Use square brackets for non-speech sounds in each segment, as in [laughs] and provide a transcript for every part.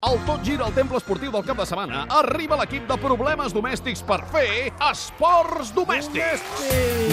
Al Tot Gira al Temple Esportiu del cap de setmana arriba l'equip de problemes domèstics per fer esports domèstics.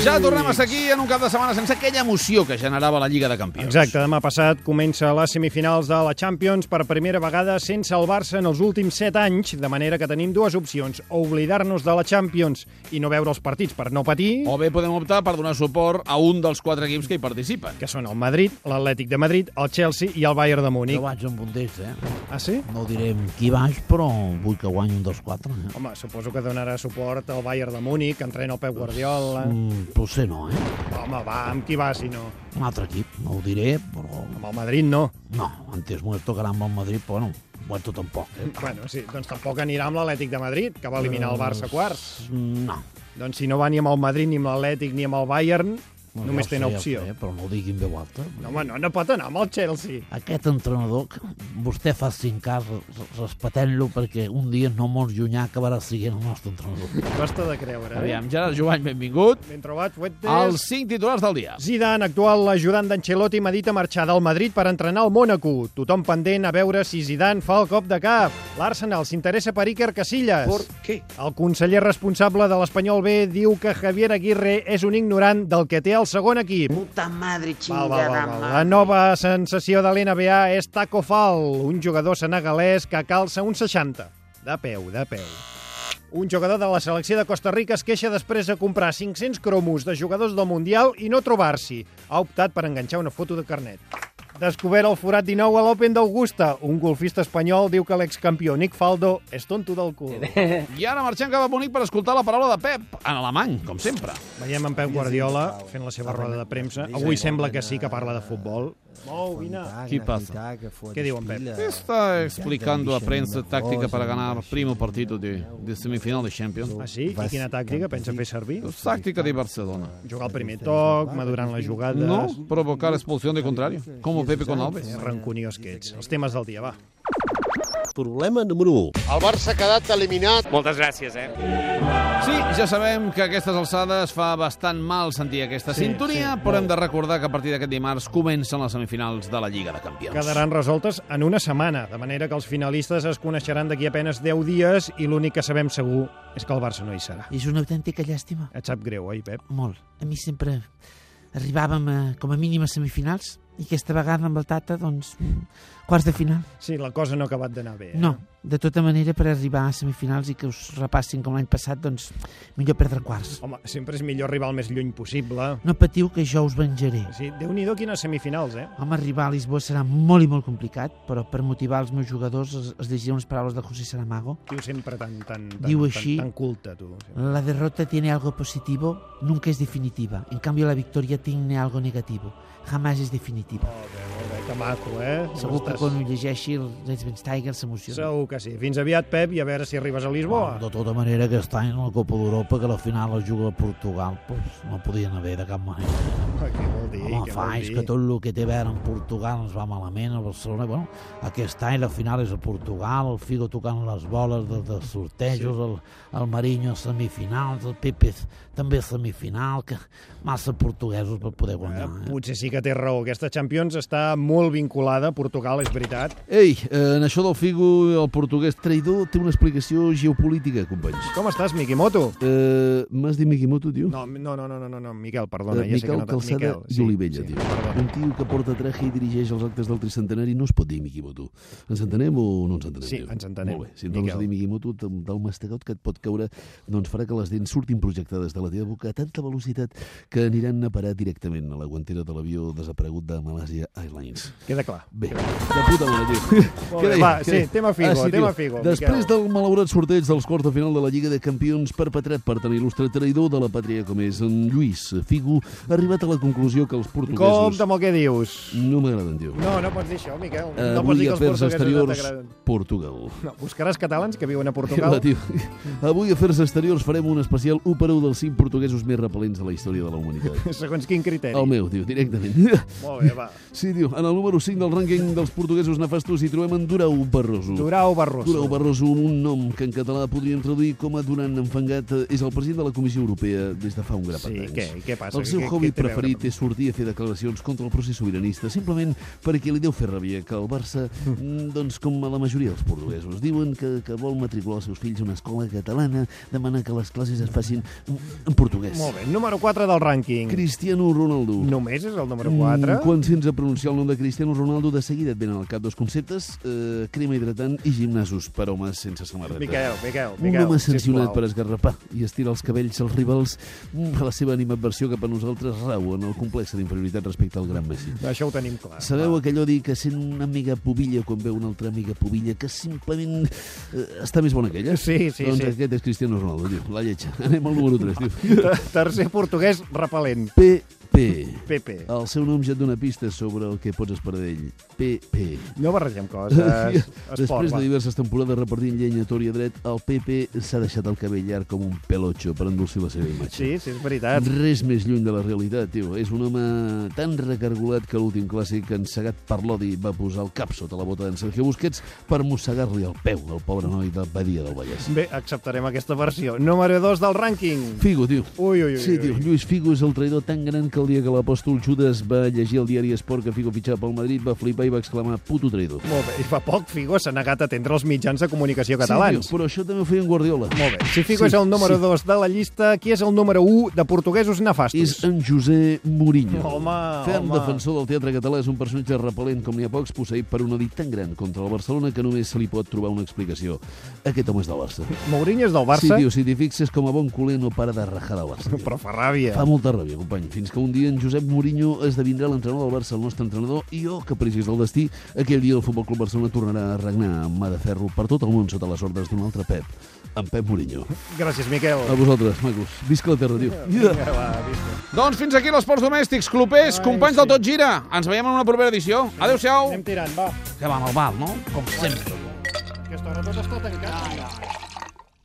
Ja tornem a ser aquí en un cap de setmana sense aquella emoció que generava la Lliga de Campions. Exacte, demà passat comença les semifinals de la Champions per primera vegada sense el Barça en els últims 7 anys, de manera que tenim dues opcions, o oblidar-nos de la Champions i no veure els partits per no patir, O bé podem optar per donar suport a un dels quatre equips que hi participen. que són el Madrid, l'Atlètic de Madrid, el Chelsea i el Bayern de Jo Múnich. vaig amb un d'ells, eh? Ah, sí? No diré amb qui vaig, però vull que guanyi un dels quatre. Eh? Home, suposo que donarà suport al Bayern de Múnich, que entrena el Pep Guardiola... Mm, potser no, eh? Home, va, amb qui va, si no? Un altre equip, no ho diré, però... Amb el Madrid, no. No, antes m'ho tocarà amb el Madrid, però no, Guanto tampoc, eh? Bueno, sí, doncs tampoc anirà amb l'Atlètic de Madrid, que va eliminar el Barça a quarts. Mm, No. Doncs si no va ni amb el Madrid, ni amb l'Atlètic, ni amb el Bayern, no ja només ho tenen sé, opció. ja ho Sé, però no ho digui en veu alta. No, home, no, no pot anar amb el Chelsea. Aquest entrenador, que vostè facin cas, re- respetem-lo, perquè un dia no molt llunyà acabarà siguent el nostre entrenador. Costa de creure, eh? Aviam, Gerard Jovany, benvingut. Ben trobat, Fuentes. Els cinc titulars del dia. Zidane, actual ajudant d'Ancelotti, medita marxar del Madrid per entrenar al Mónaco. Tothom pendent a veure si Zidane fa el cop de cap. L'Arsenal s'interessa per Iker Casillas. ¿Por qué? El conseller responsable de l'Espanyol B diu que Javier Aguirre és un ignorant del que té el segon equip. Puta madre Val, chingada val, val, val. La madre. nova sensació de l'NBA és Taco Fall, un jugador senegalès que calça un 60. De peu, de peu. Un jugador de la selecció de Costa Rica es queixa després de comprar 500 cromos de jugadors del Mundial i no trobar-s'hi. Ha optat per enganxar una foto de carnet. Descobert el forat 19 a l'Open d'Augusta. Un golfista espanyol diu que l'excampió Nick Faldo és tonto del cul. I ara marxem cap a Bonic per escoltar la paraula de Pep, en alemany, com sempre. Veiem en Pep Guardiola fent la seva roda de premsa. Avui sembla que sí que parla de futbol. Mou, vine. ¿Qué pasa? ¿Qué digo, Pep? Está explicando a prensa táctica para ganar el primo partido de, de semifinal de Champions. Ah, sí? I quina tàctica pensa fer servir? Táctica Doncs de Barcelona. Jugar al primer toc, madurant les jugades... No, provocar expulsión de contrario, como Pepe con Alves. Rancuniós que ets. Els temes del dia, va. Problema número 1. El Barça ha quedat eliminat. Moltes gràcies, eh? Sí, ja sabem que a aquestes alçades fa bastant mal sentir aquesta Sí, sintonia, sí, però hem de recordar que a partir d'aquest dimarts comencen les semifinals de la Lliga de Campions. Quedaran resoltes en una setmana, de manera que els finalistes es coneixeran d'aquí apenes 10 dies i l'únic que sabem segur és que el Barça no hi serà. És una autèntica llàstima. Et sap greu, oi, Pep? Molt. A mi sempre arribàvem a, com a mínim a semifinals i aquesta vegada amb el Tata, doncs, quarts de final. Sí, la cosa no ha acabat d'anar bé. Eh? No, de tota manera, per arribar a semifinals i que us repassin com l'any passat, doncs, millor perdre quarts. Home, sempre és millor arribar el més lluny possible. No patiu que jo us venjaré. Sí, Déu-n'hi-do quines semifinals, eh? Home, arribar a Lisboa serà molt i molt complicat, però per motivar els meus jugadors els, els llegiré unes paraules de José Saramago. Diu sempre tan, tan, tan, Diu tan, així. tan culte, tu. Sí. La derrota tiene algo positivo, nunca es definitiva. En cambio, la victoria tiene algo negativo, jamás es definitiva. Molt bé, molt bé, que maco, eh? Segur que Estàs- quan ho llegeixi el Red Tiger s'emociona. Segur que sí. Fins aviat, Pep, i a veure si arribes a Lisboa. De tota manera, aquest any la Copa d'Europa, que la final la juga Portugal, doncs, no podien haver de cap manera. Home, què vol dir? Home, què fa vol anys dir? que tot el que té a veure amb Portugal ens va malament, a Barcelona, bueno, aquest any la final és a Portugal, el Figo tocant les boles de, de sortejos, sí. el, el Marinho a semifinals, el Pepe també a semifinal, que massa portuguesos per poder guanyar. Eh? Potser sí que té raó. Aquesta Champions està molt vinculada a Portugal, és veritat. Ei, eh, en això del Figo, el portuguès traïdor, té una explicació geopolítica, companys. Com estàs, Mikimoto? Eh, M'has dit Mikimoto, tio? No, no, no, no, no, no, no Miquel, perdona. Eh, ja sé que Miquel no t'ha- Calçada Miquel, i Olivella, sí, tio. perdona. Un tio que porta traje i dirigeix els actes del tricentenari no es pot dir Mikimoto. Ens entenem o no ens entenem? Sí, tio? ens entenem, Molt bé. Si et dones Miquel. a dir Mikimoto, te- del mastegot que et pot caure doncs farà que les dents surtin projectades de la teva boca a tanta velocitat que aniran a parar directament a la guantera de l'avió desaparegut de Malaysia Airlines. Queda clar. Bé, de puta mare, tio. Molt Què bé, deia? va, Què sí, deia? tema Figo, tio. tema Figo, Ah, Després Miquel. del malaurat sorteig dels quarts de final de la Lliga de Campions perpetrat per tan il·lustre traïdor de la pàtria com és en Lluís Figo, ha arribat a la conclusió que els portuguesos... Compte amb el que dius. No m'agraden, tio. No, no pots dir això, Miquel. no pots Avui dir que els afers portuguesos no exteriors, t'agraden. Portugal. No, buscaràs catalans que viuen a [laughs] Portugal. Relatiu. Avui a Afers Exteriors farem un especial 1 per 1 dels 5 portuguesos més [laughs] repel·lents de la història de la humanitat. Segons quin criteri. El meu, tio, directament. [laughs] Molt bé, va. Sí, diu, en el el número 5 del rànquing dels portuguesos nefastos hi trobem en Durau Barroso. Durau Barroso. Durau Barroso, amb un nom que en català podríem traduir com a Durant enfangat, eh, és el president de la Comissió Europea des de fa un grapat Sí, d'anys. què- què passa? El seu Què- hobby què té a veure preferit amb- és sortir a fer declaracions contra el procés sobiranista, simplement perquè li deu fer ràbia que el Barça, mm, doncs com a la majoria dels portuguesos, diuen que, que vol matricular els seus fills a una escola catalana, demana que les classes es facin en portuguès. Molt bé, número 4 del rànquing. Cristiano Ronaldo. Només és el número Mm, 4. Quan sents a pronunciar el nom de Cristiano Ronaldo, de seguida et venen al cap dos conceptes, eh, crema hidratant i gimnasos per homes sense samarreta. Miquel, Miquel, Un Miquel. home sancionat sisplau. per esgarrapar i estirar els cabells als rivals mm, la seva animadversió cap a nosaltres rau en el complex d'inferioritat respecte al gran Messi. Això ho tenim clar. Sabeu aquell odi que sent una amiga pobilla quan veu una altra amiga pobilla que simplement eh, està més bona que ella? Sí, sí, doncs sí. aquest és Cristiano Ronaldo, tio. La lletja. Anem al número 3, tio. Tercer portuguès repel·lent. PP. Pepe. El seu nom ja et dona pistes sobre el que pots esperar d'ell. PP. No barregem coses. Esport, Després va. de diverses temporades repartint llenya a tor i a dret, el PP s'ha deixat el cabell llarg com un pelotxo per endolcir la seva imatge. Sí, eh. sí, és veritat. Res més lluny de la realitat, tio. És un home tan recargolat que l'últim clàssic, encegat per l'odi, va posar el cap sota la bota d'en Sergio Busquets per mossegar-li el peu al pobre noi de Badia del Vallès. Bé, acceptarem aquesta versió. Número 2 del rànquing. Figo, tio. Ui, ui, ui. Sí, tio, ui. Lluís Figo és el traïdor tan gran que el dia que l'apòstol Judas va llegir el diari Esport que Figo fitxava pel Madrid va flipar i va exclamar puto traïdor. Molt bé. I fa poc Figo s'ha negat a atendre els mitjans de comunicació Sí, catalans. tio, però això també ho feia en Guardiola. Molt bé. Si Figo és el número 2 de la llista, qui és el número 1 de portuguesos nefastos? És en José Mourinho. Home, Ferm home. defensor del teatre català és un personatge repel·lent com n'hi ha pocs, posseït per un odi tan gran contra el Barcelona que només se li pot trobar una explicació. Aquest home és del Barça. Mourinho és del Barça, Sí, tio, si t'hi fixes, com a bon culer no para de rajar del Barça. tio. però fa ràbia. Fa molta ràbia, company, fins que un dia en Josep Mourinho esdevindrà l'entrenador del Barça, el nostre entrenador, i oh, capricis del destí, aquell dia el Futbol Club Barcelona tornarà a regnar amb mà de ferro per tot el món sota les ordres d'un altre Pep, en Pep Mourinho. Gràcies, Miquel. A vosaltres, macos. Visca la terra, tio. Vinga, va, visca. Doncs fins aquí l'Esports Domèstics. Clopers, companys del Tot Gira, ens veiem en una propera edició. Adéu-siau. eh? Anem tirant, va. Que va amb el val, no? Com sempre. Aquesta hora tot està tancat.